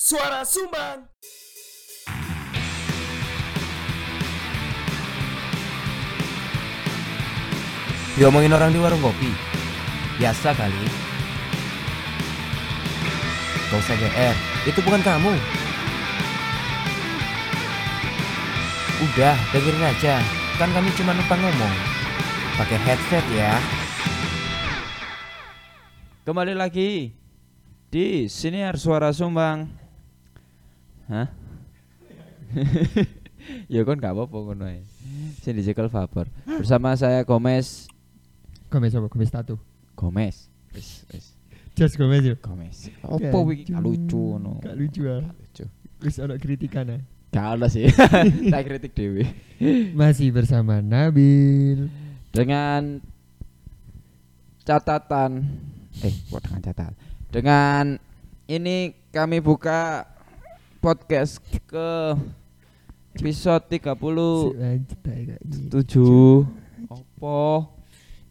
Suara Sumbang. Diomongin orang di warung kopi Biasa kali Gak usah GR Itu bukan kamu Udah, dengerin aja Kan kami cuma numpang ngomong Pakai headset ya Kembali lagi di sini suara sumbang. Hah? ya kon gak apa-apa ngono ae. Sing dicekel vapor. Bersama saya Gomez. Gomez apa? Gomez tato. Gomez. Wis wis Just Gomez yo. Gomez. Opo iki gak lucu ngono. Gak lucu ah. Gak lucu. Wis ana kritikan ah. Gak ada sih. Tak kritik dewe. Masih bersama Nabil. Dengan catatan eh kok dengan catatan. Dengan ini kami buka podcast ke episode 30 Si lanjut ae kayak gini. tujuh opo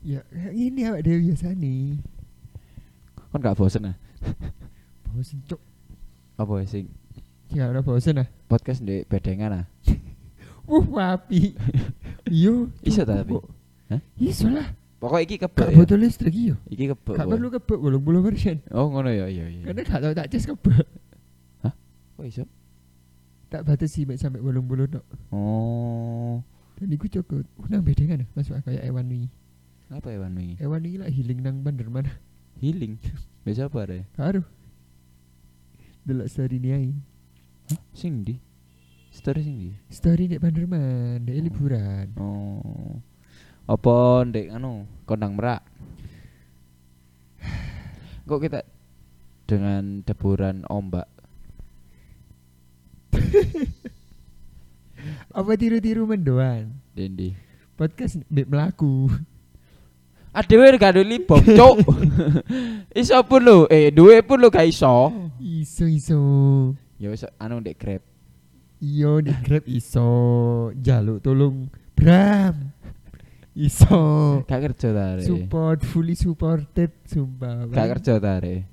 Ya kayak gini awak dhewe biasane. kon gak bosen ah Bosen cuk. apa sing Sing gak ora bosen ah. podcast di bedengan ah Wuh api. Yo. Iso ta, tapi? cukup. Hah? Iso lah. pokok iki kebek Gak ya butuh listrik yo. iki kebek Gak woy. perlu kebek 80%. oh ngono ya iya iya Karena gak tau tak cas kebek. oh iso Tak batasi mek sampai 80 tok. oh Dan iku cukup. Uh, nang bedengan ah. Masuk aku kayak Ewan wi. apa ya Wan wingi Ewan wi lah healing nang bandar mana. healing biasa apa ya Karo. Delok story ni ae. Hah? sing di story sing di Story nek Banderman, nek liburan. oh apa ndek anu kondang merak kok kita dengan deburan ombak Apa tiru-tiru mendoan? dendi Podcast mbek melaku. Adewe Ah, gak ada libok, cok. iso pun lo, eh duwe pun lo gak iso. Iso-iso. Ya wis anu ndek Grab. Iyo di Grab iso. Jaluk tolong Bram. Iso. Gak kerja ta arek. Support fully supported sumpah. Gak kerja ta arek.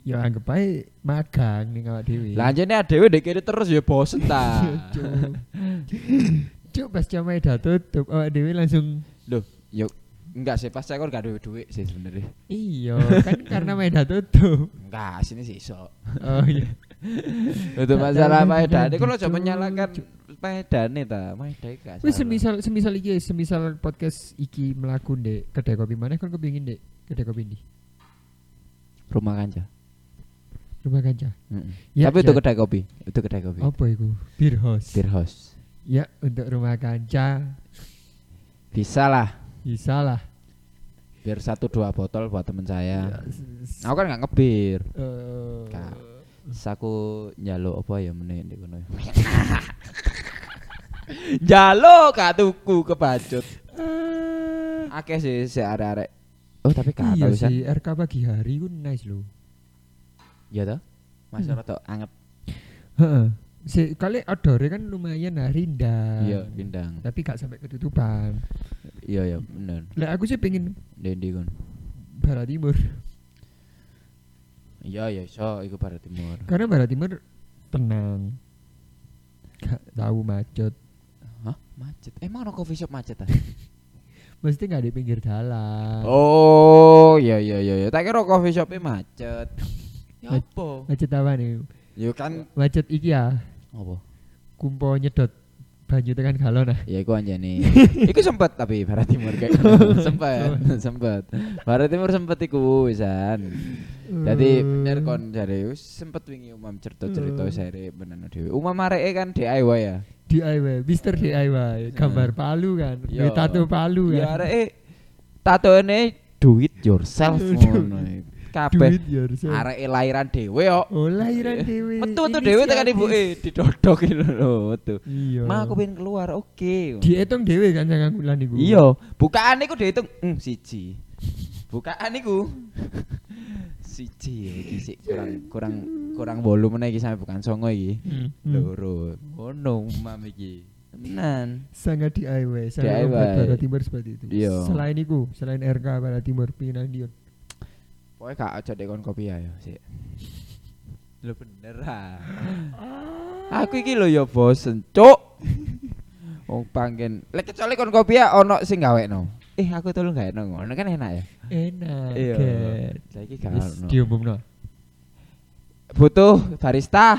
Ya anggap ae magang ning awak dhewe. Lah anjene adewe ndek kene terus ya bosen ta. Iya, Cuk. Cuk pas jamai dah tutup awak dhewe langsung Loh, yo enggak sih pas saya kan gak ada duit sih sebenarnya. Iya, kan karena Medan tutup. Enggak, sini sih iso. Oh iya. Itu Gak masalah ada paedane. duit, Kok lo coba Cuk. menyalakan paedane ta? Paedane gak. Wis salah. semisal semisal iki semisal podcast iki mlaku Dek, kedai kopi mana kan kepengin Dek? Kedai kopi ndi? rumah kanca. Rumah kanca. Mm-mm. Ya, Tapi itu ya. kedai kopi. Itu kedai kopi. Apa iku? Beer house. Beer house. Ya, untuk rumah ya kanca Bisa lah. bisa lah. Biar satu dua botol buat temen saya. S- s- Aku kan gak ngebir. eh, Kak. Saku njaluk apa ya meneh ndek kono. Njaluk gak tuku kebacut. Akeh sih si arek-arek. Oh, tapi gak Iya tau bisa. sih, RK pagi hari ku nice lho. Iya toh? Masih rada anget. Heeh. Si kali outdoor kan lumayan nah, rindang. Iya, bintang. Tapi gak sampai ketutupan. Iya ya, bener. Lah aku sih pengen Dendi kon. Barat Timur. Iya ya iso iku Barat Timur. Karena Barat Timur tenang. Gak tahu macet. Hah? Macet. Emang ono coffee shop macet ah? Mesti nggak di pinggir jalan. oh, iya iya iya iya. Tak kira coffee shopnya macet. Ya Mac- apa? Macet apa nih? Ya kan Macet iki ya. apa? Kumpo nyedot banyu tekan galon ah. Ya iku anjani. iku sempat tapi Barat Timur kayak sempat, sempat. Barat Timur sempat iku wisan. Jadi bener kon jare wis sempet wingi umam cerita-cerita Eh. jare benano dhewe. Umam areke kan DIY ya. DIY, Mister DIY, gambar palu kan, Hmm. Yo. tato palu Ya kan. areke eh, tatoene do it yourself Do- ngono. Kabeh Duit ya, yourself. areke lahiran dhewe yo. Eh, Oh lahiran dewe. Metu metu dhewe tekan inisiatif. ibuke didodok iki lho metu. Iya. Ma aku pengen keluar, oke. dihitung dewe kan sangang bulan iku. Iya, bukaan iku dihitung hmm, siji. Bukaan iku siji ya, iki sik kurang kurang kurang volumene iki sampe bukan songo iki. Hmm. Loro. Ono umam iki. Tenan. Sangat DIY, DIY. sangat obat Barat Timur seperti itu. Iya. Selain iku, selain RK Barat Timur Pinang Dion. ya, Pokoke gak aja dek kon kopi ayo sik. Lho bener ah. Aku iki lho ya bosen, cuk. Wong panggen. Lek kecuali kon kopi ya ono sing gawekno. Eh aku tolong gawekno ngono kan enak ya. Enak. Iya. Ken. Saiki Wis gawekno. diumumno. Butuh barista.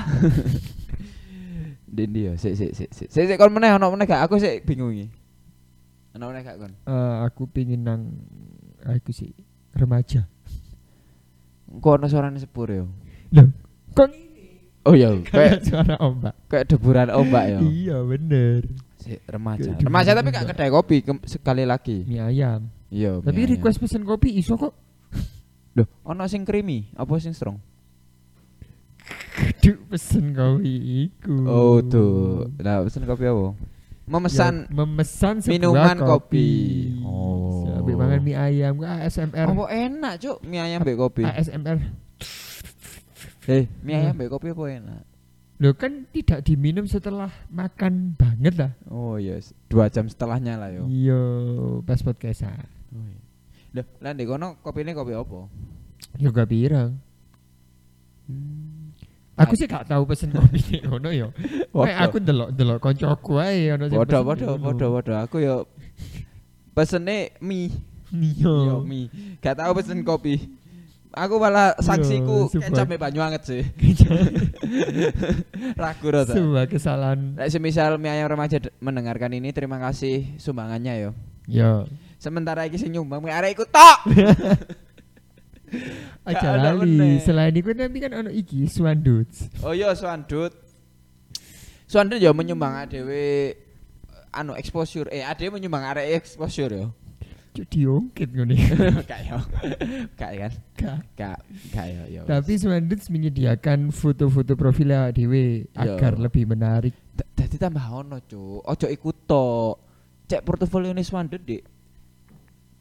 Dendi yo, sik sik sik sik. Sik sik kon meneh ono meneh gak aku sik bingung iki. Ono meneh gak kon? Eh, aku pingin nang aku sih remaja. Engko ono suarane sepur yo. Loh, kok Oh iya, kayak kayak suara ombak? kayak deburan ombak ya? yo. Iya, bener. Sik remaja. Kayak deburan Remaja tapi gak ombak. kedai kopi kem- sekali lagi. Mie ayam. Iya. Tapi biar- request pesen kopi iso kok. Loh, ono sing creamy, apa sing strong? Duh, pesen kopi iku. Oh, tuh. Nah, pesen kopi apa? Memesan Ya, memesan sebuah minuman kopi. Oh. Oh. Sampai makan mie ayam ah, Kok ASMR. apa enak, Cuk? Mie ayam mbek kopi. ASMR. Eh, mie ayam mbek kopi apa enak? Loh kan tidak diminum setelah makan banget lah. Oh, yes. Dua jam setelahnya lah yo. Iya, pas podcastan. Loh, Oh, iya. lah ndek kono kopine kopi apa? Juga pirang. Hmm. Aku sih gak tahu pesen kopi di ngono yo. Eh, Kayak aku delok delok koncoku ae ya, ono sing Podo pesen podo ngono. podo podo aku yo pesene mie, Iya. yo mie. Gak tau pesen kopi. Aku malah saksiku sumpah. kecap mbek banyu anget sih. Ragu ra ta? Sebuah kesalahan. Nah, semisal mie ayam remaja d- mendengarkan ini, terima kasih sumbangannya yo. Yo. Sementara iki sing nyumbang mie arek iku tok. Aja Gak ada meneh. lali. Selain itu nanti kan ono iki Swanduts. Oh iya Suandut. Suandut yo menyumbang dhewe anu exposure. Eh, ade menyumbang arek exposure yo. Cuk diungkit ngene. Gak yo. Gak kan? Gak. Gak gak yo yo. Tapi Swanduts menyediakan foto-foto profil dewe Yo. agar lebih menarik. D- Dadi tambah ono, Cuk. Ojo iku tok. Cek portofolio ne Suandut, Dik.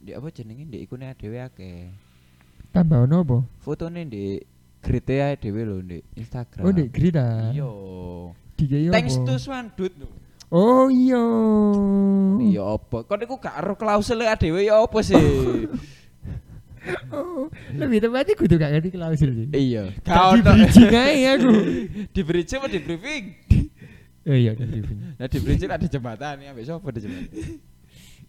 Dik apa jenenge Dik iku ne dhewe akeh. Tambah ono apa? Fotone Dik kriteria dhewe lho, Dik. Instagram. Oh, Dek Nah. Grita. Yo. Dikei Thanks apa? to Swandut. Oh, iya. Hmm. Ya apa? Kon iku gak ero klausule dhewe ya apa sih? Oh, lebih tepatnya kudu gak ngerti klausul sih. Iya. Gak Gak ono. di-bridging ae aku. Di bridge apa di briefing? Oh iya, di briefing. Nah di bridge ada jembatan ya, besok apa di jembatan?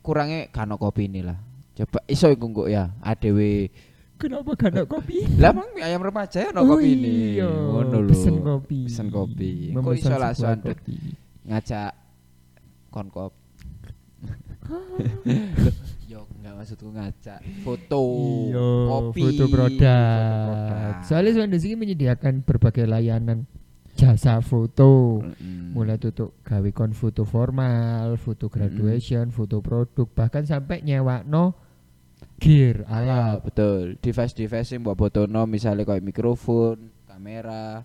kurangnya kano kopi ini lah. Coba iso iku nggo ya ADW. Kenapa gak ada kopi? Lah mang mie ayam remaja ya no Oh, kopi ini. iya. Ngono lho. Pesen kopi. Pesen kopi. Kok Memesan iso lah sebuah soan, Dut? kopi. Ngajak kon kop. Yo enggak maksudku ngajak foto, Iya, kopi, foto foto produk. produk. Soalnya Swandes ini menyediakan berbagai layanan jasa foto. Mm-mm. Mulai tutup gawe kon foto formal, foto graduation, foto produk, bahkan sampai nyewakno gear Ah, alat. betul. Device-device yang mbok botono misalnya kayak mikrofon, kamera,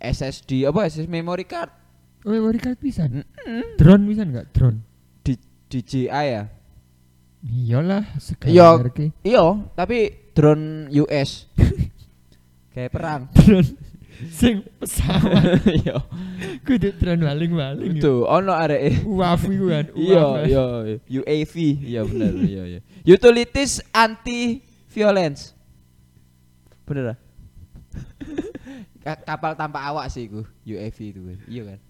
SSD apa SSD memory card, Oh, memory card Hmm. pisan. Drone pisan enggak drone? D- DJI ya. Iyalah, segala Iya. merek e. Iya, tapi drone US. Kayak perang. Drone sing pesawat Iya. kudu drone waling-waling. Itu ono areke. Uaf iku kan. Iya, uaf. iya, UAV, iya benar, iya, iya. Utilities anti violence. Bener ah? Ka- kapal tanpa awak sih iku, UAV itu kan. Iya kan?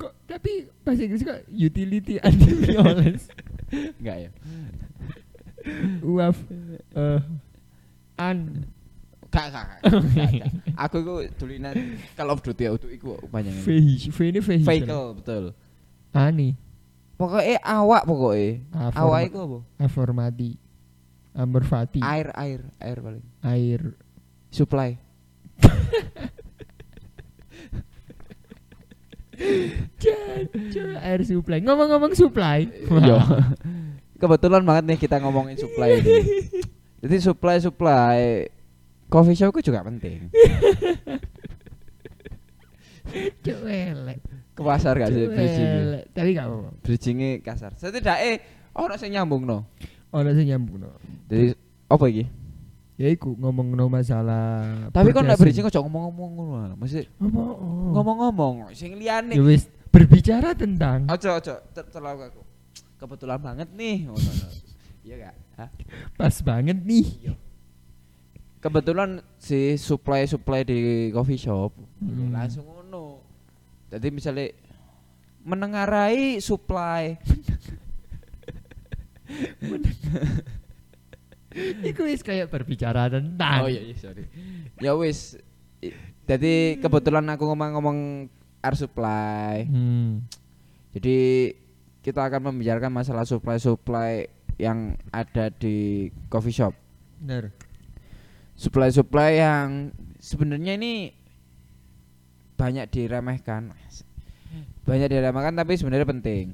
Kok tapi bahasa Inggris kok utility anti violence. Enggak ya. Uaf eh an Kak, kak, kak. Aku iku dulinan Call of Duty auto iku panjangnya. vehicle. V ini kan? vehicle. Vehicle, betul. Ani. Pokoknya awak pokoknya. Aforma- Awak iku apa? Aformati. Amber Fati. Air, air, air paling. Air. Supply. Cuk, air supply. Ngomong-ngomong supply. Iya. Kebetulan banget nih kita ngomongin supply ini. Jadi supply supply coffee shop itu juga penting. Cuk elek. Kepasar gak sih cuk bridging? elek. Tapi gak apa-apa. Bridgingnya kasar. Setidaknya ono sing nyambung no. Ono sing nyambung no. Jadi apa iki? Ya iku ngomong no masalah. Tapi kok nek bridging berjasing. kok ngomong-ngomong ngono. ah. Mesti Apa? Oh. ngomong-ngomong sing liyane. Ya wis berbicara tentang Ojo ojo ter- terlalu aku. Kebetulan banget nih. Ngono, no. Iya gak? Hah? pas banget nih. Kebetulan si supply supply di coffee shop Hmm. langsung ngono. Jadi misalnya menengarai supply Iku wis kayak berbicara tentang. iya sorry. ya wis. I- Jadi kebetulan aku ngomong-ngomong air supply. Hmm. Jadi kita akan membicarakan masalah supply-supply yang ada di coffee shop. Bener. Supply-supply yang sebenarnya ini banyak diremehkan. Banyak diremehkan tapi sebenarnya penting.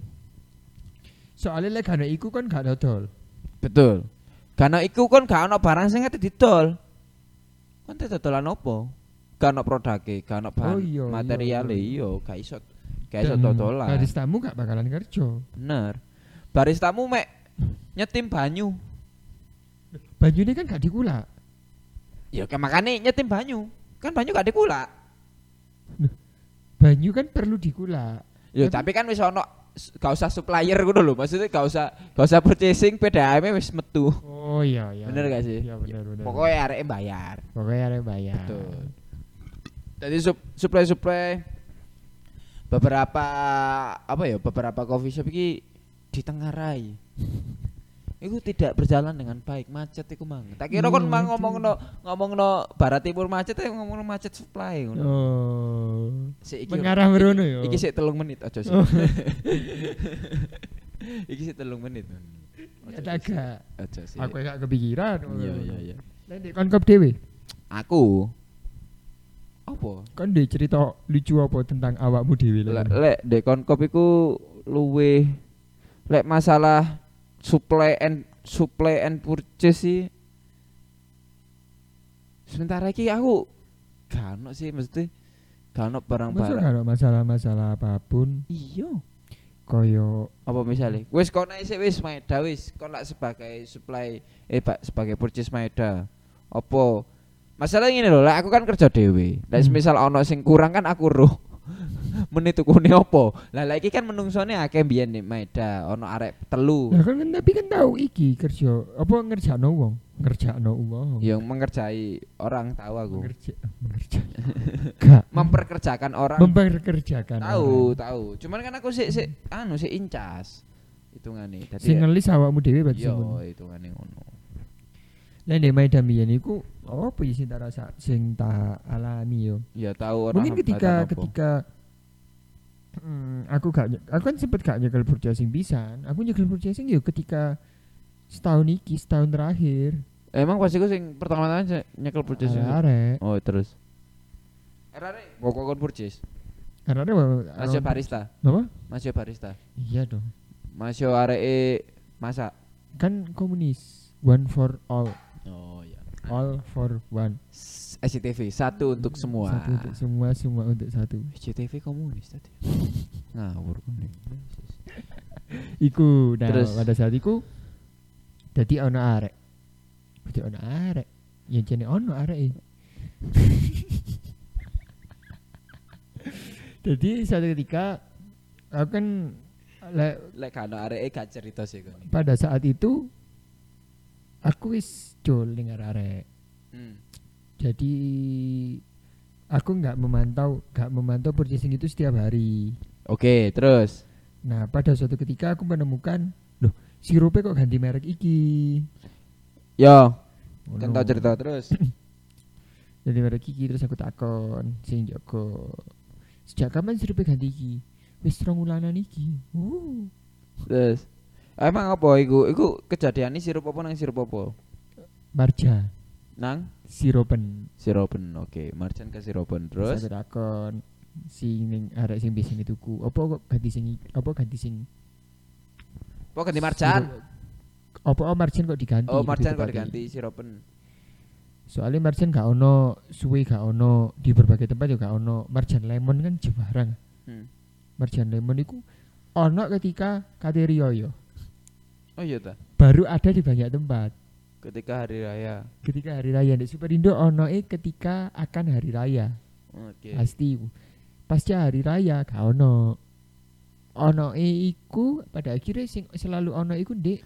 Soalnya lek ana iku kan gak dodol. Betul. Karena iku kan gak ono barang sing ngerti didol. Kon te dodolan opo? Gak ono produke, gak ono bahan Oh, iya, iya, materiale, iya, gak iso gak iso Dan dodolan. Baristamu gak bakalan kerja. Bener. Baristamu mek nyetim banyu. Banyune kan gak dikulak. Ya kan makane nyetim banyu. Kan banyu gak dikulak. Banyu kan perlu dikulak. Ya tapi, kan wis ono s- gak usah supplier ngono lho. Maksudnya gak usah gak usah purchasing PDAM e wis metu. Oh iya iya. Bener gak sih? Iya bener bener. Pokoknya areke bayar. pokoknya ada yang bayar. Betul. Jadi sup- supply-supply beberapa apa ya beberapa coffee shop iki ditengarai. Iku tidak berjalan dengan baik, macet iku mang. Hmm. Tak kira kon Iya, mang itu. ngomongno ngomongno barat timur macet ya ngomongno macet supply ngono. Oh. Sik iki. Mengarah merono yo. Iki sik 3 menit aja sik. Oh. Iki sik 3 menit. Ojo Ternyata gak. sik, ojo sik. Aku gak kepikiran. Iya iya iya. Lah ndek kon kop dhewe. Aku apa? Kon ndek cerita lucu apa tentang awakmu dhewe Le- lek. lek dek konkop iku luwe lek masalah supply and supply and purchase sih sementara iki aku gak ono sih mesti gak ono Masa barang-barang gak ada masalah-masalah apapun iya koyo apa misalnya wis kono sih wis maeda wis kon lak sebagai supply eh pak sebagai purchase maeda apa masalah ini loh lek aku kan kerja dewe lek Hmm. misal ono sing kurang kan aku roh menikuni apa lah lek iki kan menungsone akeh mbiyen nih maeda ono arek telu Lah kan kan tapi kan tahu iki kerja apa ngerjakno wong, ngerjakno wong. yang mengerjai orang tahu Iya, aku Mengerja, mengerja. Gak. memperkerjakan orang memperkerjakan. tahu orang. tahu cuman kan aku sik sik anu sik incas hitungane dadi Sing ngelis awakmu dhewe berarti iya sing ngono. hitungane ngono Lah ndek Maeda mbiyen iku apa ya sing tak rasa sing tak alami yo. ya tahu orang Mungkin hambatan ketika apa. ketika hmm, aku gak nye- aku kan sempet gak nyekel purchasing pisan. Aku nyekel purchasing yo ketika setahun iki, setahun terakhir. Emang pas iku sing pertama-tama se- nyekel purchase. ini? Arek. Oh, terus. Erare kok kon purchase. Arek. Masih barista, Apa? masih barista. Iya dong. Masih areke masak. Kan komunis. One for all, Oh iya. all for one. SCTV satu untuk semua. Satu untuk semua, semua untuk satu. SCTV komunis tadi. Ngawur kuning. Iku nah Terus? pada saat iku dadi ono arek. Dadi ono arek. Ya jane ono arek. e. Jadi suatu ketika aku kan le- Lek gak ono areke gak cerita sih kon. pada saat itu aku wis jol dengar arek. Hmm. Jadi aku nggak memantau nggak memantau purchasing itu setiap hari. Oke, terus. Nah, pada suatu ketika aku menemukan, loh, sirupnya kok ganti merek iki. Yo, kan tau Ngono. cerita terus. Ganti merek iki terus aku takon sing Joko. Sejak kapan sirupnya ganti iki? Wis rong wulanan iki. Uh. terus. Emang apa iku? Iku kejadian ini sirup apa nang sirup apa? Marja Nang sirupen. sirupen. Oke, marjan ke sirupen terus. aku takon sing ning arek sing biasane tuku. Apa kok ganti sing iki? apa ganti sing Kok ganti marjan? sirup- Apa oh, marjan kok diganti? Oh, marjan kok Dipati. diganti siropen. Soalnya merchant gak ono, suwe gak ono, di berbagai tempat juga gak ono. Merchant lemon kan jebarang. Hmm. Merchant lemon itu ono ketika Kateriyoyo. Oh iya ta. Baru ada di banyak tempat. Ketika hari raya. Ketika hari raya di Superindo ono e ketika akan hari raya. Oke. Pasti iku. Pasca hari raya gak ono. Ono e iku pada akhirnya sing selalu ono iku di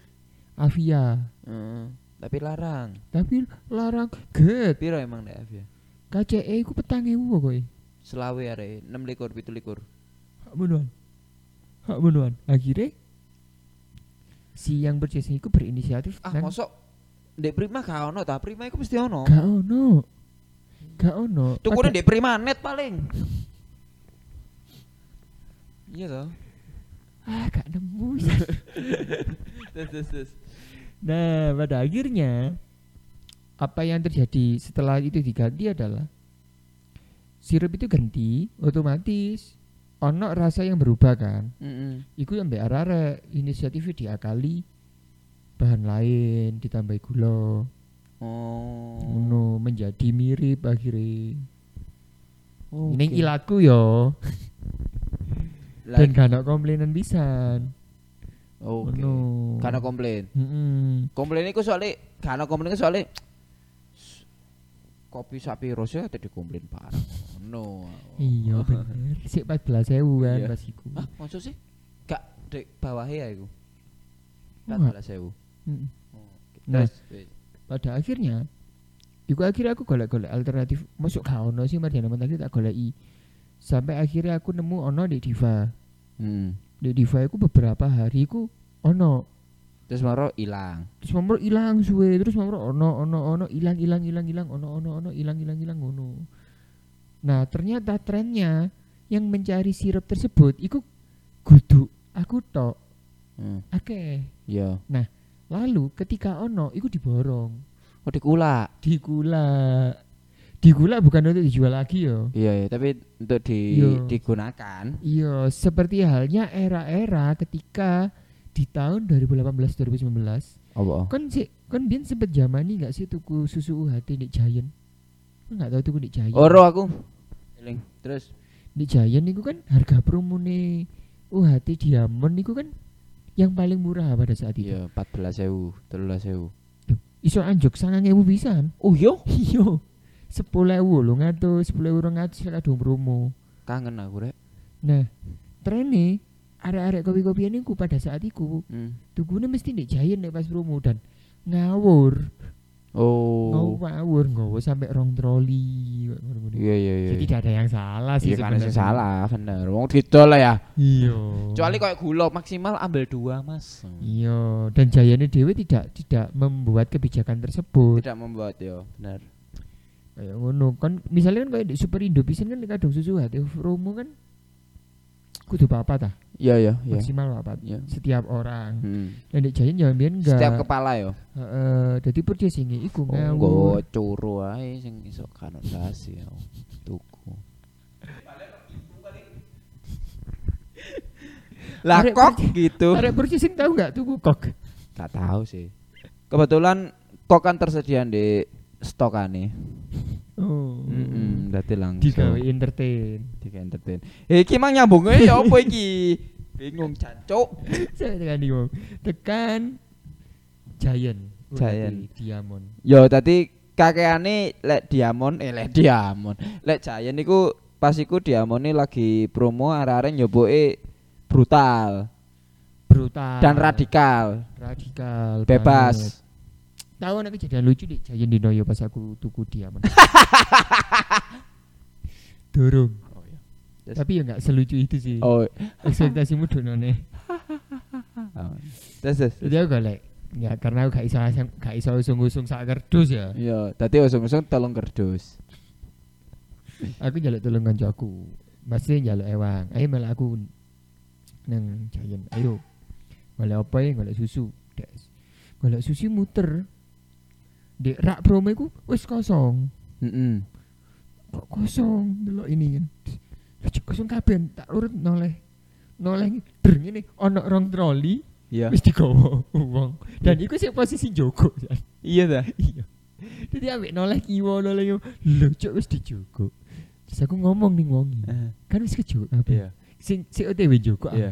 Avia. Heeh. Hmm. Tapi larang. Tapi larang get. Piro emang nek ya? KCE iku petange uwo kowe. Selawe arek 6 likur 7 likur. Hak menuan. Hak menuan. Akhirnya si yang purchasing iku berinisiatif Ah nang- mosok Dek Prima gak ono ta? Prima iku mesti ono. gak ono. Gak ono. Tukune Pada- Dek Prima net paling. Iya toh. Ah, gak nemu. Terus terus terus. nah, pada akhirnya apa yang terjadi setelah itu diganti adalah sirup itu ganti otomatis ono rasa yang berubah kan Heeh. Iku yang mbak arek inisiatifnya diakali bahan lain ditambah gula Oh. ngono menjadi mirip akhirnya Oh, Ning oke. ilaku yo Lah, dan gak ada komplainan pisan Oke. ngono Karena komplain. Mm-mm. komplain iku soalnya karena komplain iku soalnya kopi sapi rose tadi komplain parah no iya bener sik 14.000 kan Iya. pas iku ah maksud sih gak dek bawahnya ya iku Wah. kan malah sewu Mm. Nah. terus wis. pada akhirnya Iku akhirnya aku golek-golek alternatif Masuk gak ono sih Marjana Mentari tak golek Sampai akhirnya aku nemu ono di Diva hmm. Di Diva aku beberapa hari aku ono terus maro hilang terus mamro ilang suwe terus mamro ono ono ono ilang ilang ilang ilang ono ono ono ilang ilang ilang ono nah ternyata trennya yang mencari sirup tersebut iku kudu aku tok hmm. akeh ya lalu ketika ono iku diborong oh dikulak digula digula bukan untuk dijual lagi yo iya ya tapi untuk di Iya. digunakan Iya, seperti halnya era-era ketika di tahun 2018-2019 apa kan sih kan biar sempet zaman nih nggak sih tuku susu UHT di Giant Kan nggak tahu tuku di Giant oro aku Eling. terus di Giant itu kan harga promo nih UHT Diamond itu kan yang paling murah pada saat itu iya 14.000 sewu iso anjok sangat ewu bisa oh iya iyo sepuluh ewu lo ngatur sepuluh ewu ngatus kadung promo kangen aku rek nah trennya arek-arek kopi-kopian iku pada saat itu hmm. tugune mesti di Giant nek pas promo dan ngawur oh ngawur ngawur sampai rong troli kayak ngono-ngono. iya iya iya Jadi tidak ada yang salah sih Iya karena sih sebenarnya. salah, bener. Wong didol lah ya. Iya. Kecuali kayak gula maksimal ambil dua mas. Iya, dan Jayane Dewi tidak tidak membuat kebijakan tersebut. Tidak membuat yo, bener. Kayak ngono kan misalnya kan kayak di Superindo pisan kan kadung susu hati promo kan kudu apa tah? Iya iya iya. Maksimal apa? Iya. Setiap orang. Hmm. Dan di Jayan jangan biar enggak. Setiap Oh, kepala yo. Heeh, jadi purchasing iku Nggo ngawur. curu ae sing iso kanon dasi yo. Tuku. Lah Arek kok gitu? Arek purchasing tahu enggak tuku kok? Gak tahu sih. Kebetulan kok kan tersedia di stokane. Hmm. Oh. Heeh, berarti langsung. Digawe entertain. Tiga entertain. Eh, iki mah nyambungnya ya apa iki? Bingung cancuk. Saya tekan di wong. Tekan Giant. Giant. Urati Diamond. Yo tadi kakeane lek Diamond, eh lek Diamond. Lek Giant niku pas iku Diamond ini lagi promo arek-arek nyoboke brutal Brutal. dan radikal, Radikal. banget. bebas. Tahu nek kejadian lucu di Giant di Noyo pas aku tuku Diamond. Durung. Terus- Tapi ya nggak selucu itu sih. iya. Oh. Ekspektasimu donone. oh. Terus terus. Jadi aku golek. Ya karena aku gak iso asam- gak iso usung-usung sak kerdus ya. Yo, tadi usung-usung tolong kerdus. Aku njaluk tolong kancaku. Masih njaluk ewang. Ayo malah aku nang Giant. Ayo. Golek apa ya? Golek susu. Des. Golek susu muter. Di rak promo iku wis kosong. Heeh. Kok kosong? Delok ini kan. Wis kosong kabeh tak urut noleh. Noleh der ngene ana rong troli Iya. wis digawa wong. Dan iku sik posisi jogo. Jan. Iya dah. Iya. Jadi ambek noleh kiwa noleh yo. Lho cuk wis dijogok. Terus aku ngomong ning wongi. Kan wis kejogok kabeh. Iya. Sing si OTW jogok. ah. Iya.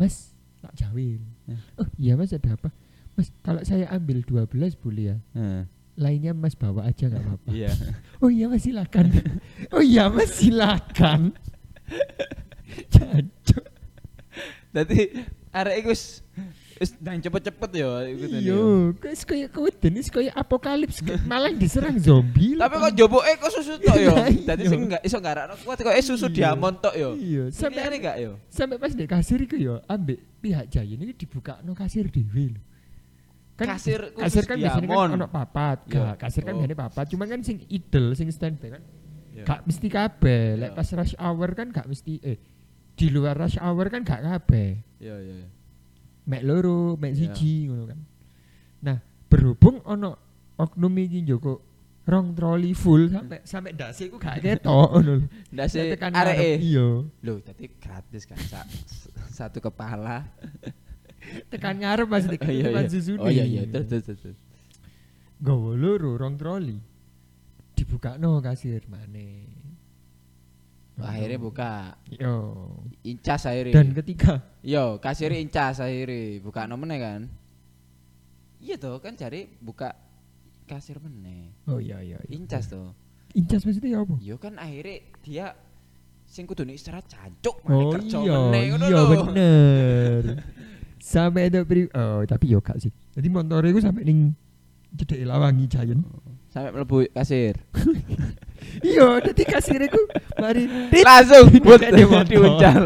Mas, tak jawil. Eh. Oh, iya Mas ada apa? Mas, kalau saya ambil 12 boleh ya? Heeh. Lainnya Mas bawa aja nggak apa-apa. Iya. Oh iya mas silakan. Oh iya mas silakan. Jancuk. Dadi arek iku wis wis ndang cepet-cepet ya iku tadi ya. Yo, Iya, kok is kaya keweden is kaya apokalips kayak malah diserang zombie. Tapi kok joboke kok susu tok ya. Nah, iya. Dadi sing enggak iso ngarakno kuat kok eh, susu Iya. diamond tok ya. Iya, Sampe sampai enggak ya? sampai pas di kasir iku yo ambek pihak Jaya ini dibuka no kasir dhewe lho. Kasir khusus kasir kan biasanya Diamond. kan ono papat, Iya. gak, kasir kan Oh. biasanya papat, cuman kan sing idle, sing standby kan Iya. gak mesti kabeh. Lek Iya. pas rush hour kan gak mesti eh di luar rush hour kan gak kabeh. Iya iya. iya. mek loro, mek Iya. siji ngono kan. Nah, berhubung ono oknum iki njoko rong troli full sampai sampai ndase iku gak ketok ngono lho. Ndase Tekan ngarep, areke. Iya. Lho, eh. dadi gratis kan sa- s- satu kepala. Tekan ngarep Mas Dik. Oh, iya, Tekan iya. susune. Oh iya iya, terus terus terus, terus. Nggawa loro rong troli. Dibukakno kasir maneh. Akhirnya buka Iya. incas akhirnya. Dan ketiga, Yo, kasir incas akhirnya buka nomene kan. Iya toh kan cari buka kasir meneh. oh iya iya. iya. Incas toh. Incas maksudnya ya apa? Yo kan akhirnya dia sing kudu nih istirahat jancuk malah Oh kerja iya, meneh ngono iya lho. bener. sampai itu pri oh tapi yo gak sih. Jadi motor itu sampai ning cedek lawangi Giant. Sampai mlebu kasir. Iya, dadi kasir iku mari tit Langsung buat Dikene motor. diuncal.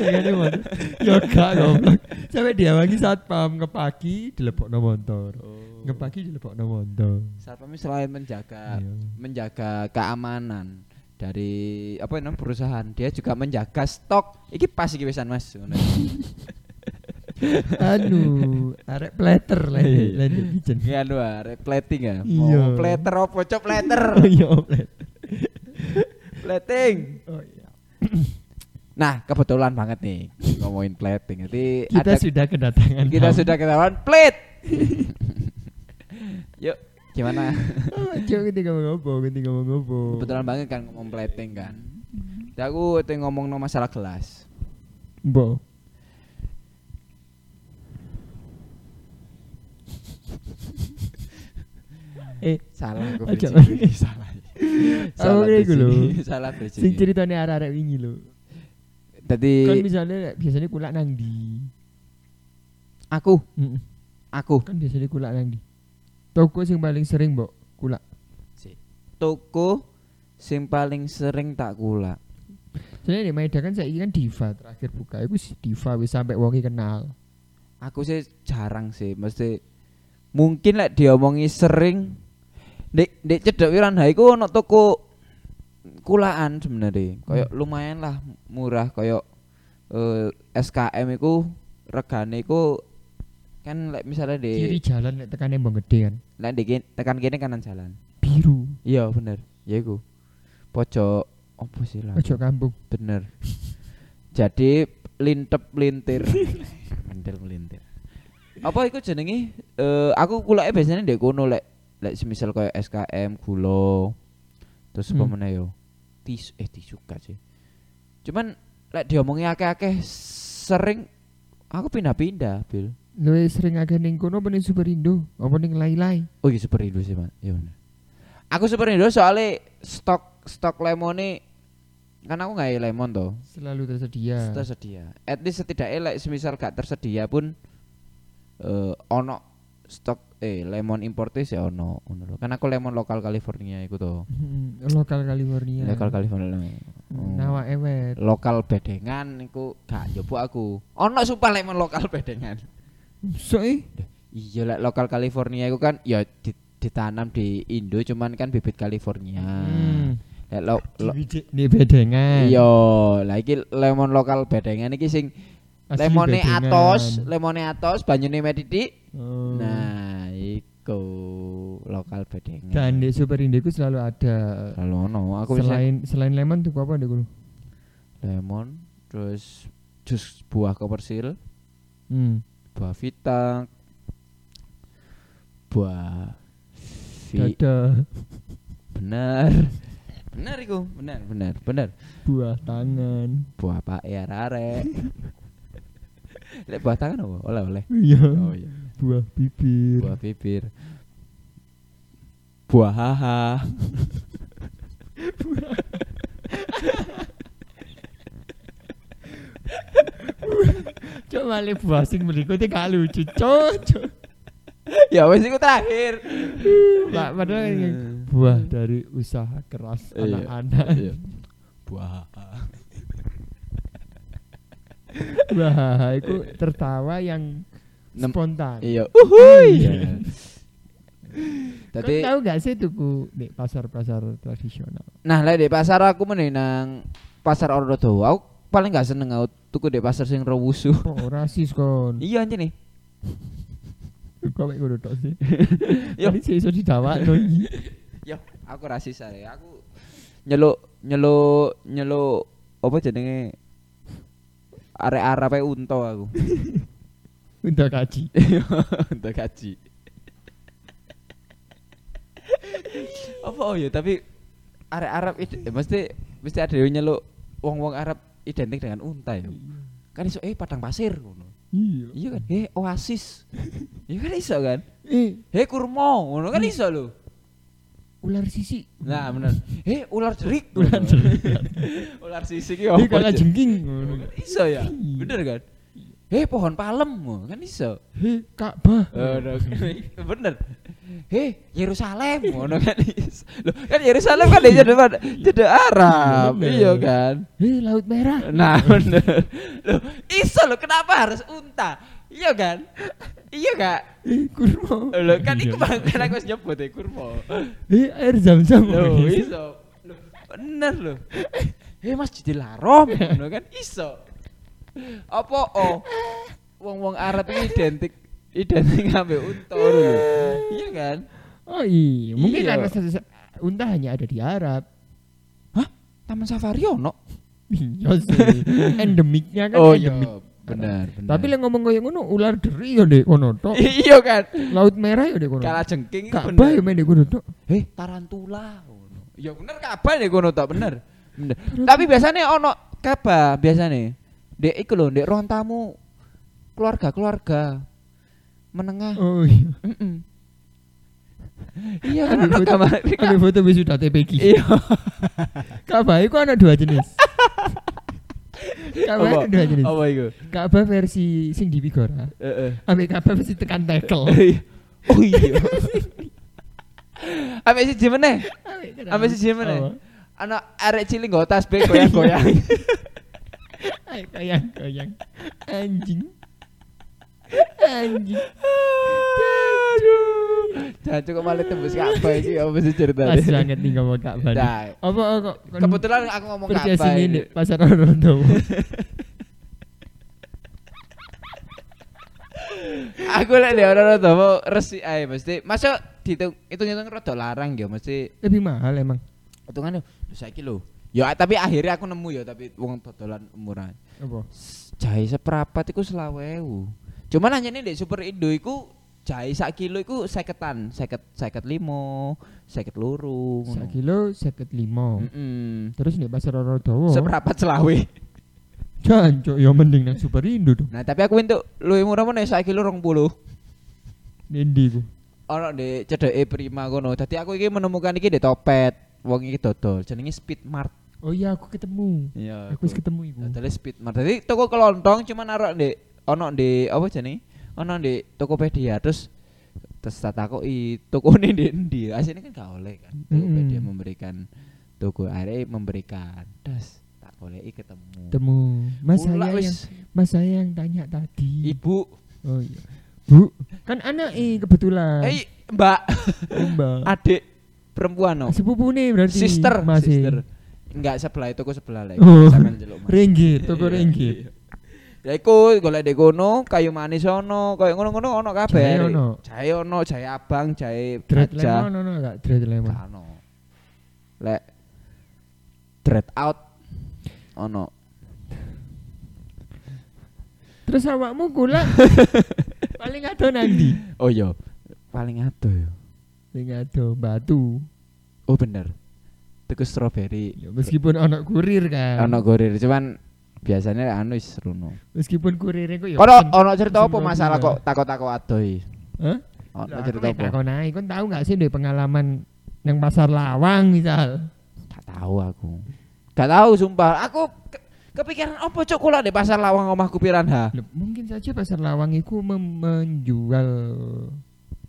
ngene motor. Yo gak goblok. Sampai diawangi satpam ngepaki dilebokno motor. Oh. Ngepaki dilebokno motor. Satpam selain menjaga Iya. menjaga keamanan dari apa namanya perusahaan, dia juga menjaga stok. Iki pas iki pisan Mas. Ngono. Anu, arek pleter Iya, lagi iya. lagi kitchen. Iki anu arek plating ya. Iya. Mau plater opo cop plater. Iya, pleter. plating. Oh iya. Nah, kebetulan banget nih ngomongin plating. Jadi Kita ada- sudah kedatangan kita tamu. sudah ketahuan plit. Yuk, gimana? Oh, Cuk, ketika mau ngopo, ketika mau ngopo. Kebetulan banget kan ngomong plating kan. Mm-hmm. Jadi aku itu ngomong no masalah gelas. Mbok. Eh, Salah aku Aja. berjini. salah. Salah Aku kayak gitu berjini, loh. Salah sing berjini. ceritane arek-arek wingi lho. Tadi Kan misalnya biasanya kulak nang di. aku, aku Kan biasanya kulak nang di. Toko sing paling sering, Mbok, kulak. toko sing paling sering tak kula. Soalnya di Maeda kan saiki kan Diva terakhir buka iku si Diva wis sampe wongi kenal. Aku sih jarang sih, mesti mungkin lek diomongi sering Dek dek cedok wiran ha iku ono toko kulaan sebenarnya. Kayak lumayan lah murah kayak eh, SKM iku regane iku kan lek misalnya Kiri di jalan nek tekane Mbok Gede kan. lek di kin- tekan kiri kanan jalan. Biru, Iya bener, ya iku. Pojok opo sih lah? pojok kampung. Bener. Jadi lintep lintir. Mentil melintir. Apa iku jenenge? Eh aku kulake biasanya ndek kono lek lek semisal kayak SKM gula. Terus apa Hmm. meneh yo? Tis eh tisu gak sih. Cuman lek diomongi akeh-akeh sering aku pindah-pindah, Bil. Luwih sering akeh ning kono apa ning Superindo? Apa ning Lai-Lai? Oh iya Super Indo sih, Mas. Iya bener. Aku Super Indo soalnya stok stok lemone kan aku nggak lemon toh. Selalu tersedia. tersedia. At least setidaknya like, semisal gak tersedia pun eh ono stok eh lemon importis ya ono ngono lho. Kan aku lemon lokal California iku to. Hmm, lokal California. Lokal Oh. California. Hmm, Nawa ewet. Lokal bedengan iku gak nyoba aku. Ono sumpah lemon lokal bedengan. So eh, Iya lek lokal California iku kan ya di- ditanam di Indo cuman kan bibit California. Hmm. Lek lo, Nah. lo, di bedengan. iya, lah iki lemon lokal bedengan iki sing Asli lemone bedengan. atos, lemone atos, banyune medidik. Oh. Nah, iku lokal bedengan. Dan di Super Indigo selalu ada Lalu ono, aku bisa selain selain lemon tuh apa deh dulu? lemon, terus jus buah kopersil, Hmm. buah vitak, buah Fi Dadah bener bener iku bener bener bener buah tangan. buah pak ya arek lek buah tangan apa oleh oleh Iya. oh iya Buah bibir. buah bibir buah haha Cok malah buah sing berikutnya gak lucu. Cok, cok. ya wes iku terakhir Pak, padahal ini buah dari usaha keras Iya. anak-anak. Iya. buah haha. Buah itu tertawa yang Nem- spontan. iya uhuy Iya. Kau Tadi tahu gak sih tuku di pasar-pasar tradisional? Nah, lek di pasar aku meneh nang pasar Ordo tuh. Aku paling gak seneng aku tuku di pasar sing rewusu. Kok rasis kon? iya anjir nih. Kau kayak gue sih. Yo. Tadi sih iso didawa no iki. Yo, aku rasis are. Aku nyeluk nyeluk nyeluk apa jenenge arek-arek ae unta aku. Udah kaji. unta gaji. apa oh ya tapi arek Arab itu eh, mesti mesti ada yang nyeluk wong-wong Arab identik dengan unta ya. Kan iso eh padang pasir ngono. Iya. Iya kan? Eh oasis. Iya kan iso kan? Eh, Eh kurma ngono kan iso lho. ular sisi. Nah bener. Eh ular jerik. Ular ngono. jerik. ular sisi ki Ini apa? kalah Cek? jengking. Kan Iso ya. Bener kan? Iya. Eh pohon palem ngono, kan iso. Hei, Ka'bah. Ngono. bener. Eh Yerusalem ngono kan iso. Lho kan Yerusalem kan jadi jadi Arab. Bener. Iya kan? Hei, Laut Merah. Nah bener. Loh iso lho kenapa harus unta? Iya kan? Iya gak? Eh, kurma. Lho kan iku Iya. bang kan aku wis nyebut e kurma. Eh, air zam-zam. Lho iso. Lho bener lho. Eh Masjidil Haram ngono kan iso. Apa oh wong-wong Arab ini identik identik ambek unta ngono lho. Iya kan? Oh iya, mungkin Iya. karena satu unta hanya ada di Arab. Hah? Taman safari ya ono? Iya sih. Endemiknya kan endemik. Oh, iya, Bener, bener. Tapi lek ngomong koyo ngono ular deri ya ndek kono tok. iya kan. Laut Merah ya ndek kono. Kalah jengking iku Ka'bah ya bener. main ndek kono tok. Eh tarantula ngono. Ya bener kabar ya kono tak bener. Bener. Tapi biasanya ono kabar biasanya. Dek iku lho, dek ruang tamu keluarga-keluarga menengah. Oh iya. Mm-mm. Iya kan Ada ono foto- kabar. Ada foto wis sudah TPG. Iya. Ka'bah itu ada dua jenis. Ka'bah Apa? ada dua jenis. Apa iku? Ka'bah versi sing di Bigora. Heeh. Ambil Ka'bah versi tekan tekel. Oh iya. Ambek siji meneh. Ambek eh? siji Apa? meneh. Ana arek cilik nggo tas be goyang-goyang. Ay, goyang goyang. Anjing. Anjing. Aduh. Jangan cukup malah tembus apa ini apa sih Pas ceritanya? banget nih ngomong Ka'bah. nih. Nah, Apa kok kon kebetulan aku ngomong kerja apa sini ini. nih pasar Rondo. Aku lek dia ora rada mau resik ae mesti. Masuk dihitung hitung-hitung rada larang ya mesti Lebih mahal emang. hitungannya "Duh, saiki lho. Ya tapi akhirnya aku nemu ya tapi wong dodolan murah. Apa? S- Jahe seprapat iku selawewu. Cuman hanya nih di Super Indo iku jahe sak kilo iku seketan, seket seket limo, seket lurung. Sak kilo 55. Mm Terus nih pasar Rondo. Seprapat selawe. Jancuk ya mending nang Superindo dong. Nah, tapi aku untuk luwih murah meneh saiki lho 20. Ndi ku. Ono di cedeke Prima kono. Dadi aku iki menemukan iki di Topet. Wong iki dodol jenenge Speed Mart. Oh iya aku ketemu. Iya. Aku wis ketemu iku. Dodole Speed Mart. Dadi toko kelontong cuma narok di ono di apa jenenge? Ono di Tokopedia terus terus tak takoki tokone di endi. Asine kan gak oleh kan. Tokopedia Mm-mm. memberikan toko akhirnya memberikan. Das tak boleh ketemu. Ketemu. Ulak Mas saya yang wis. Mas saya yang tanya tadi. Ibu, Oh iya. Bu, kan anak eh kebetulan. eh Mbak, Mbak. adik perempuan no. Sepupu nih berarti. sister Masih. sister enggak sebelah itu sebelah lagi Oh. sampean celuk mas Ringgit, toko Iya, ringgit. iya. ya iku golek di kono kayu manis ono kayak ngono-ngono ono kabeh Jahe ono. jahe ono jahe abang jahe Dread baja. lemon no no gak dread lemon. Gak ono lek dread out ono Terus awakmu gula paling ada nanti. oh iya paling adoh yo Sing ado batu. Oh bener. Tuku stroberi. Ya, meskipun ana kurir kan. Ono gorir cuman biasanya anu is runo. Meskipun kurirnya kok ya. Ono pesen- ono cerita apa pesen masalah roti, kok takut-takut adoi. Hah? Ono Lah, aku cerita nek apa? takon ae, kon tau gak sih duwe pengalaman nang pasar lawang misal. Gak tahu aku. Gak tahu sumpah. Aku ke- kepikiran apa cok kula di pasar lawang omahku piranha. Loh, mungkin saja pasar lawang itu mem- menjual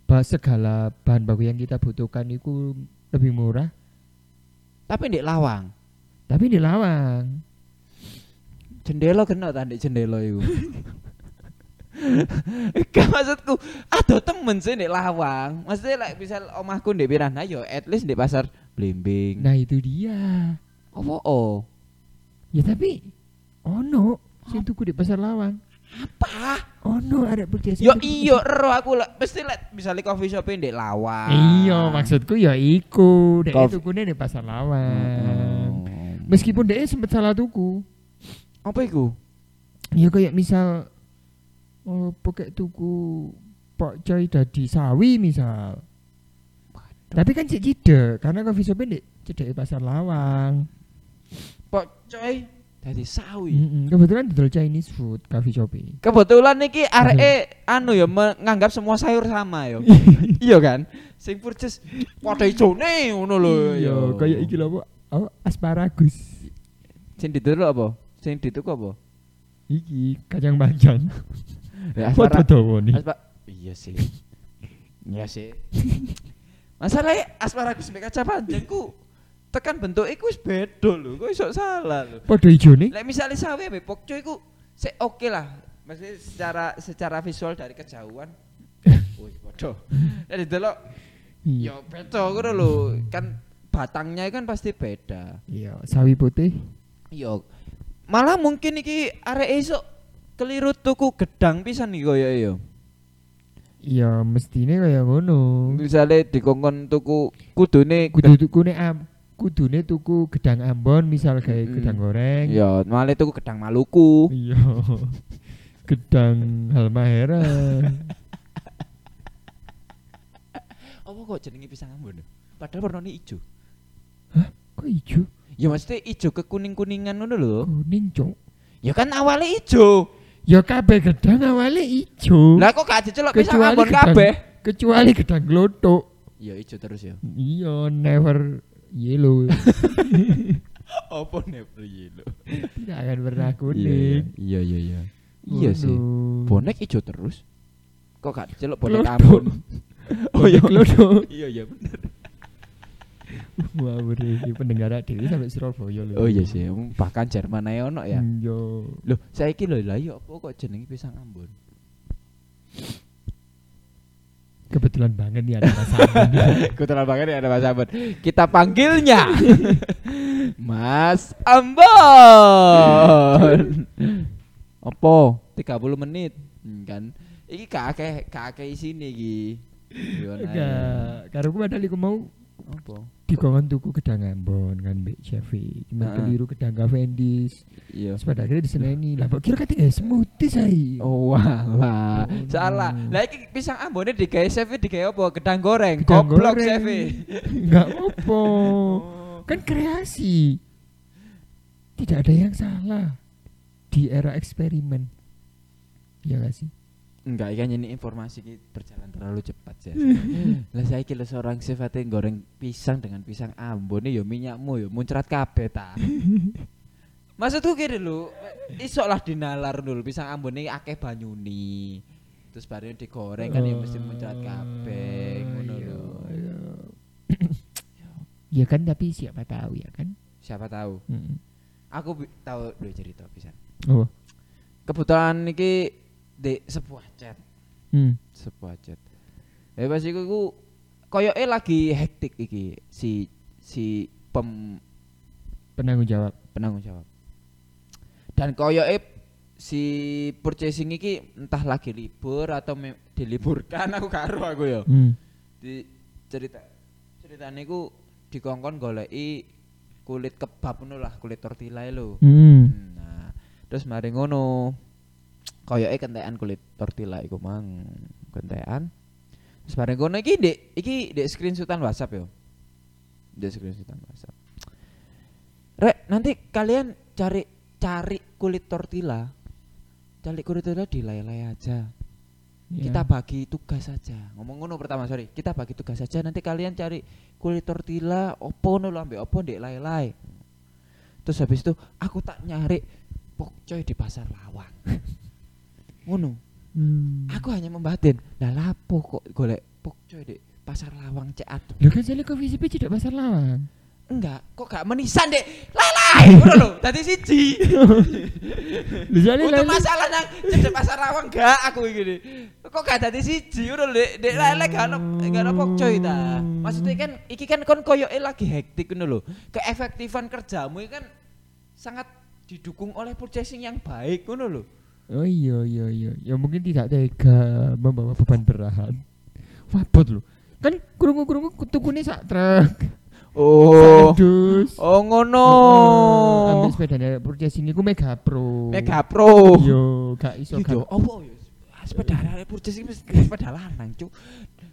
ba- segala bahan baku yang kita butuhkan itu lebih murah Tapi di lawang. tapi di lawang Jendela kena ta di jendela iku. Gak maksudku, aduh temen sih di lawang. Maksudnya like, misal omahku di piranha yo at least di pasar blimbing. nah itu dia Apa oh? ya tapi ono sing tuku di pasar lawang Apa? ono ada berjasa Yo tuku- iyo ero aku lah. Mesti like, misalnya coffee shop di lawang. iya maksudku ya iku dek Kof- tuku di pasar lawang Mm-mm. meskipun dek sempet salah tuku Apa iku? ya kayak misal oh, pakai tuku pokcoy dadi sawi misal tapi kan cek cide karena coffee shopnya di cedek pasar lawang Pok coy dari eh. sawi. Mm-mm, kebetulan didol Chinese food coffee shop ini Kebetulan niki Mhm. areke anu ya menganggap semua sayur sama ya. iya kan? Sing purchase padha ijone ngono lho ya. Iya, kayak iki lho apa asparagus Sing dituku apa? Sing dituku apa? iki kacang panjang Ya foto aspara- dawa nih aspa- Iya sih. Iya sih. e, Masalahnya asparagus mbek kaca panjangku tekan bentuk iku wis beda lho, kok iso salah lho. foto hijau nih Lek misalnya sawi mbek pokco iku sik oke lah. Maksudnya secara secara visual dari kejauhan. Wih, bodoh. Dari delok Ya iya beda ngono lho, kan batangnya kan pasti beda. iya sawi putih Yo. Malah mungkin iki arek esuk keliru tuku gedang pisan iki koyo yo. iya mestine kayak ngono Misale dikongkon tuku kudune kudu tukune am kudune tuku gedang Ambon misal kayak Mm-mm. gedang goreng Yo, malah tuku gedang Maluku. iya gedang Halmahera Apa kok jenenge pisang ambon? Padahal warnane ijo. kok ijo Ya maksudnya ijo kekuning-kuningan ngono lho. kuning cok Ya kan awalnya ijo. ya kabeh gedang awalnya ijo Lah kok gak dicelok pisang Kecuali ambon gedang. kabeh? kecuali gedang glotok Ya ijo terus ya. iya never yellow Apa never yellow? tidak akan pernah Iya, kuning Iya iya iya. Iya sih. Bonek bonek ijo terus kok gak celok bonek bonek abon oh iya glotok iya iya bener wah berarti pendengar dhewe sampai Surabaya lho oh iya sih em, bahkan Jerman aja ono ya iya loh saya lho lah iya apa kok jenenge pisang ambon kebetulan banget nih ada pasangan kebetulan banget ya ada Mas Ambon kita panggilnya Mas Ambon apa 30 menit Hmm, kan iki gak akeh gak akeh isine iki Yo, nah, Enggak, karo ku padahal iku mau apa dikongkon tuku gedang Ambon kan Mbak Chevy. Cuma Heeh. keliru gedang Cavendish. iya Terus pada akhirnya diseneni. Lah kok kira katanya smoothie say. Oh walah, Oh, no. salah. Lah iki pisang ambone digawe chef digawe apa? Gedang goreng, Gedang goblok goreng. chef. Enggak apa. Oh. Kan kreasi. Tidak ada yang salah di era eksperimen. Ya gak sih? Enggak, kan ini informasi ini berjalan terlalu cepat ya. Lah saiki lho seorang chef ate goreng pisang dengan pisang ambone ya minyakmu ya muncrat kabeh ta. Maksudku kira lho, iso lah dinalar dulu pisang ambone akeh banyuni. Terus baru digoreng kan ya mesti muncrat kabeh ngono Iya, lho. iya. Ya kan tapi siapa tahu ya kan? Siapa tahu. Mm. Aku bi- tahu dua cerita pisan. Oh. kebetulan niki di sebuah chat Hmm. sebuah chat tapi pas iku iku koyoke lagi hektik iki si si pem, Penanggung jawab. penanggung jawab dan koyoke si purchasing iki entah lagi libur atau me- diliburkan aku karo aku ya Hmm. di cerita ceritanya ku dikongkon goleki kulit kebab ngono lah kulit tortilla lho Hmm. Nah, terus mari ngono. Koyoke kentekan kulit tortilla iku mang, kentekan. Sebarang kono iki dek iki dek screenshotan WhatsApp ya. Dek screenshotan WhatsApp. Rek, nanti kalian cari cari kulit tortilla. Cari kulit tortilla di lele aja. Ya. Kita bagi tugas saja. Ngomong ngono pertama, sorry. Kita bagi tugas saja nanti kalian cari kulit tortilla opo no ambek opo ndek lele. Terus habis itu aku tak nyari pokcoy di pasar lawang. ngono. Hmm. Aku hanya membatin. Lah lapo kok golek pokcoy di pasar lawang cek atuh. Loh kan saya ke VCP tidak pasar lawang. Enggak, kok gak menisan, Dek? Lalai, ngono lho. Dadi siji. Loh soalnya Untuk lele- masalah nang cedek pasar rawang gak aku iki. Kok gak dadi siji ngono lho, Dek. Dek lele gak ono gak ono pokcoy ta. Maksudnya kan iki kan kon koyoke lagi hektik ngono lho. Keefektifan kerjamu iki kan sangat didukung oleh purchasing yang baik ngono lho. Oh iya iya iya. Ya mungkin tidak tega membawa beban berat. Wabot loh. Kan kurungu-kurungu tukune sak truk. Oh. Dus. Oh ngono. Ambil sepedane purchasing iku Mega Pro. Mega Pro. Yo, gak iso Iya, gak. apa ya? Ah, Sepeda lari purchase iki mesti sepeda lanang, Cuk.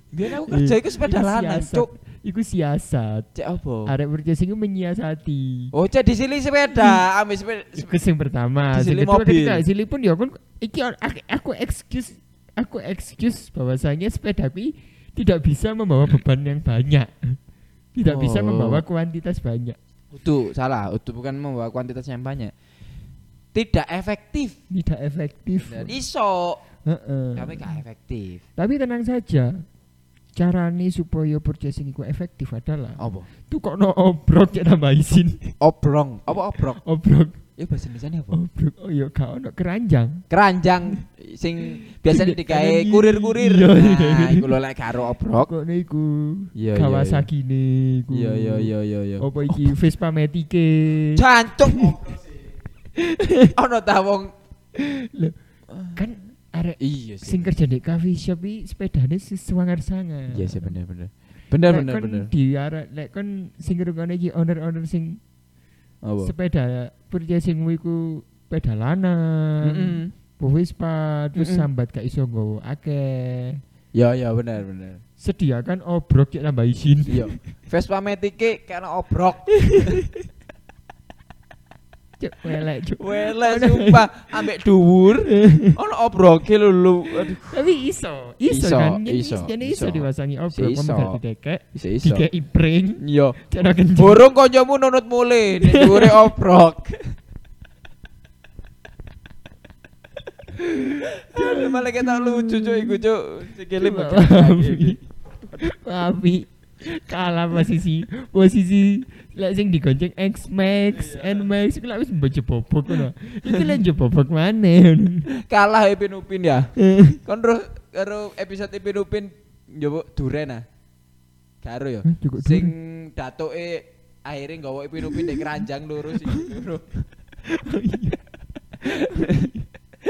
Biar aku kerja iku sepeda Iku lanang, Iya. siasat. Cuk. Oh. Iku siasat. Cek apa? Arek purchasing iku menyiasati. Oh, cek disili sepeda, ambil sepeda. Iku sing pertama, sing Disili kedua mobil. ketika disili pun ya kon iki a- a- aku excuse aku excuse bahwasanya sepeda kuwi tidak bisa membawa beban yang banyak. Tidak bisa Oh. membawa kuantitas banyak. Utuh, salah. Utuh bukan membawa kuantitas yang banyak. Tidak efektif. Tidak efektif. Dan iso, Heeh. tapi gak efektif. Tapi tenang saja. Carane supaya purchasing iku efektif adalah Apa? tukokno obrok cek tambah izin. Obrong. Apa obrok? obrok, Ya bahasa Indonesia apa? obrok. Oh iya gak ono keranjang. Keranjang sing biasanya Tidak, digawe kanan kurir-kurir. kiri. Iya, iya, Nah, iya. iku lho lek karo obrok. Kok niku Iya, iya, Kawasaki niku. Iya, iya, iya, iya, iya. Apa iki Vespa Matic-e? Jancuk. Ono ta wong kan arek Iya sing kerja di coffee shop iki sepedane sesuangar sangat. Iya sih bener bener. Bener Lek bener kon bener. Di arek lek kon sing ngrungokne iki owner-owner sing Apa? sepeda purchasing iku sepeda lanang, Mm-mm. mm Vespa terus Mm-mm. sambat gak iso nggowo akeh. Ya ya bener bener. Sediakan obrok cek tambah izin. Iya. Vespa Matic karena obrok. Cek welek cuk. Wele sumpah ambek dhuwur. Ono obroke lho lu. Aduh, Tapi iso, Iso, iso, kan. Jadi iso, jadi iso iso. diwasangi obrok Iso. memegat didekek, iso iso. dikeki pring, Iya. cek ora kenceng. Burung koncomu nunut mule, ning dhuwure obrok. Aduh, Malah kita lucu cuy, iku cuy. Sikile Coba pegat lagi, Wabi. iki. Wabi kalah posisi posisi lek sing digonceng X Max N Max iku lek wis mbok jebobok ngono. Iku lek jebobok maneh. Kalah Ipin Upin ya. Kon roh karo episode Ipin Upin njowo duren ah. Karo ya. Hah, cukup Sing datoke akhirnya nggawa Ipin Upin nek keranjang lurus iki lho. Oh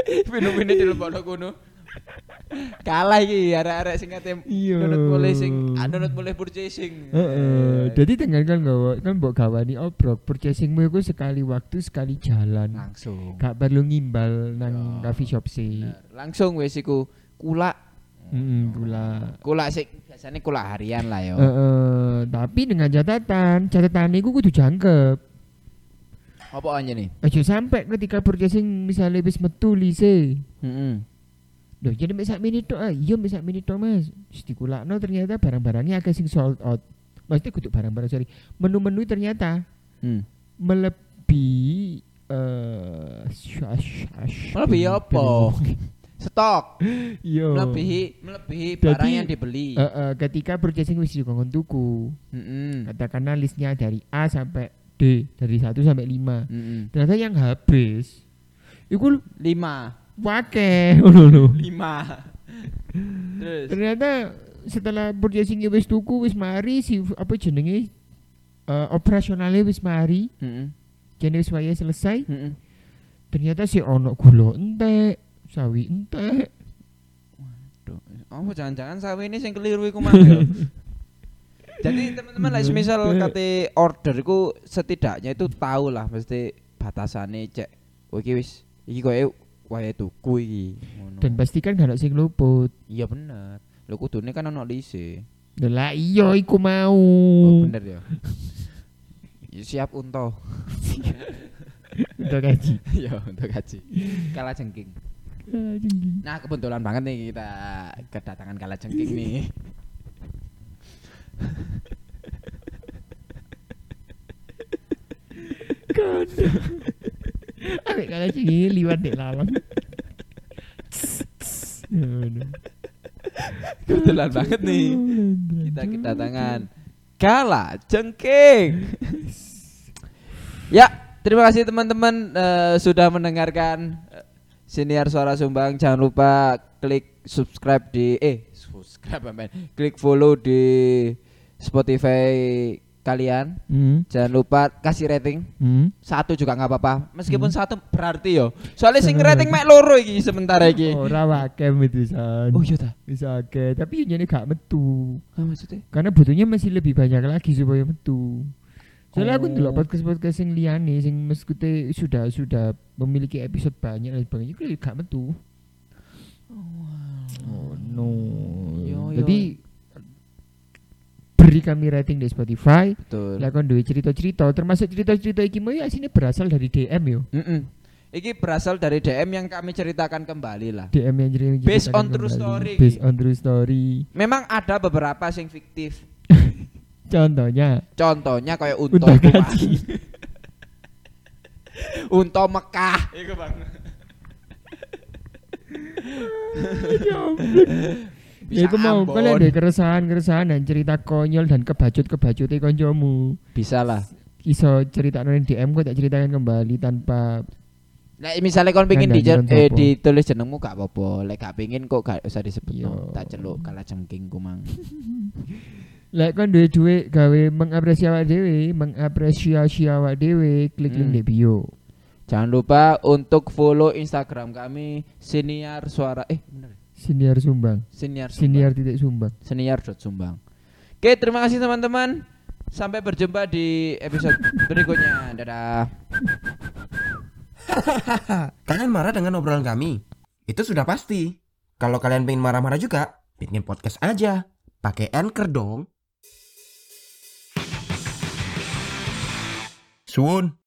Ipin Upin di lebokno kono. Kalah iki arek-arek sing kate Iya. nunut mulai sing ah, nunut mulai purchasing. Heeh. Dadi dengan kan nggawa kan mbok gawani obrok purchasingmu iku sekali waktu sekali jalan. langsung. Gak perlu ngimbal nang Ya. coffee shop sih. Bener. Langsung wis iku kulak Heeh, gula. kulak sik biasanya kulak harian lah yo. Heeh, tapi dengan catatan, catatan iku kudu jangkep. Apa aja nih? Aja sampai ketika purchasing misalnya wis metu lise. Heeh. Loh, jadi mek mini tok. ah. Iya mek mini tok, Mas. Wis dikulakno ternyata barang-barangnya agak sing sold out. Maksudnya kudu barang-barang sorry. Menu-menu ternyata Hmm. melebihi eh sya- sya- sya- Melebihi apa? Stok Oh. Iya. melebihi melebihi Jadi, barang yang dibeli. Eh, eh, ketika purchasing wis dikongkon tuku, Heeh. katakanlah listnya dari A sampai D, dari 1 sampai 5. Heeh. Ternyata yang habis iku Lima. wake ngono lho. Lima. Terus. ternyata setelah purchasing wis tuku wis mari si apa jenenge eh, operasionalnya wis mari Heeh. jadi wis waya selesai Heeh. ternyata si ono gula entek sawi entek Oh, jangan-jangan sawi ini sing keliru iku mang ya. Jadi teman-teman like misal kate order iku setidaknya itu tahu lah mesti batasannya cek. Oh iki wis iki koyo wayahe tuku iki ngono. dan pastikan gak ada sing luput Iya bener. Lho kudune kan ono lise. Lho lah iya iku mau. Mm. Oh, bener ya. Ya, siap unta. Untuk kaji. ya untuk kaji. Kala jengking. Nah, kebetulan banget nih kita kedatangan kala jengking nih. Awek kalau gini liwat dek lawang. Ngono. Kebetulan banget nih kita kedatangan kala jengking. ya, terima kasih teman-teman eh, sudah mendengarkan eh, siniar suara sumbang. Jangan lupa klik subscribe di eh subscribe amin. Klik follow di Spotify kalian. Hmm. Jangan lupa kasih rating. Hmm. Satu juga nggak apa-apa. Meskipun satu berarti yo. Soalnya sing rating mek loro iki sementara iki. Ora wakem Oh, itu san. eh. Oh iya ta. Bisa ke, tapi ini gak metu. Ah, maksudnya? Karena butuhnya masih lebih banyak lagi supaya metu. Soalnya Oh. aku ndelok podcast-podcast sing liyane sing meskute sudah sudah memiliki episode banyak dan sebagainya itu gak metu. Oh, no. Yo, yo. Jadi beri kami rating di Spotify. Betul. Lah kon duwe cerita-cerita termasuk cerita-cerita iki mau ya sini berasal dari DM yo. Mm-mm. Iki berasal dari DM yang kami ceritakan kembali lah. DM yang cerita Based on true story. Based on true story. Memang ada beberapa sing fiktif. Contohnya Contohnya kayak unta Unta Kumayan. gaji. unta Mekah. Iku bang. Ya Bisa Ya iku mau Ambon. kalian ada keresahan-keresahan dan cerita konyol dan kebajut-kebajute koncomu. Bisa lah. Iso cerita nang DM kok tak ceritakan kembali tanpa Nah, misalnya kon pengin Nandang dijen- nonton eh, apa? ditulis jenengmu gak apa-apa. Lek gak pengin kok gak usah disebut. Yo. no. Tak celuk kalah cengking kumang. Lek kon duwe duwe gawe mengapresiasi awak dhewe, mengapresiasi awak dhewe, klik link Hmm. di bio. Jangan lupa untuk follow Instagram kami siniar suara eh bener. Siniar Sumbang. Siniar Sumbang. Siniar titik Sumbang. senior.sumbang. Oke, terima kasih teman-teman. Sampai berjumpa di episode berikutnya. Dadah. Kalian marah dengan obrolan kami? Itu sudah pasti. Kalau kalian pengen marah-marah juga, bikin podcast aja. Pakai Anchor dong. Suun.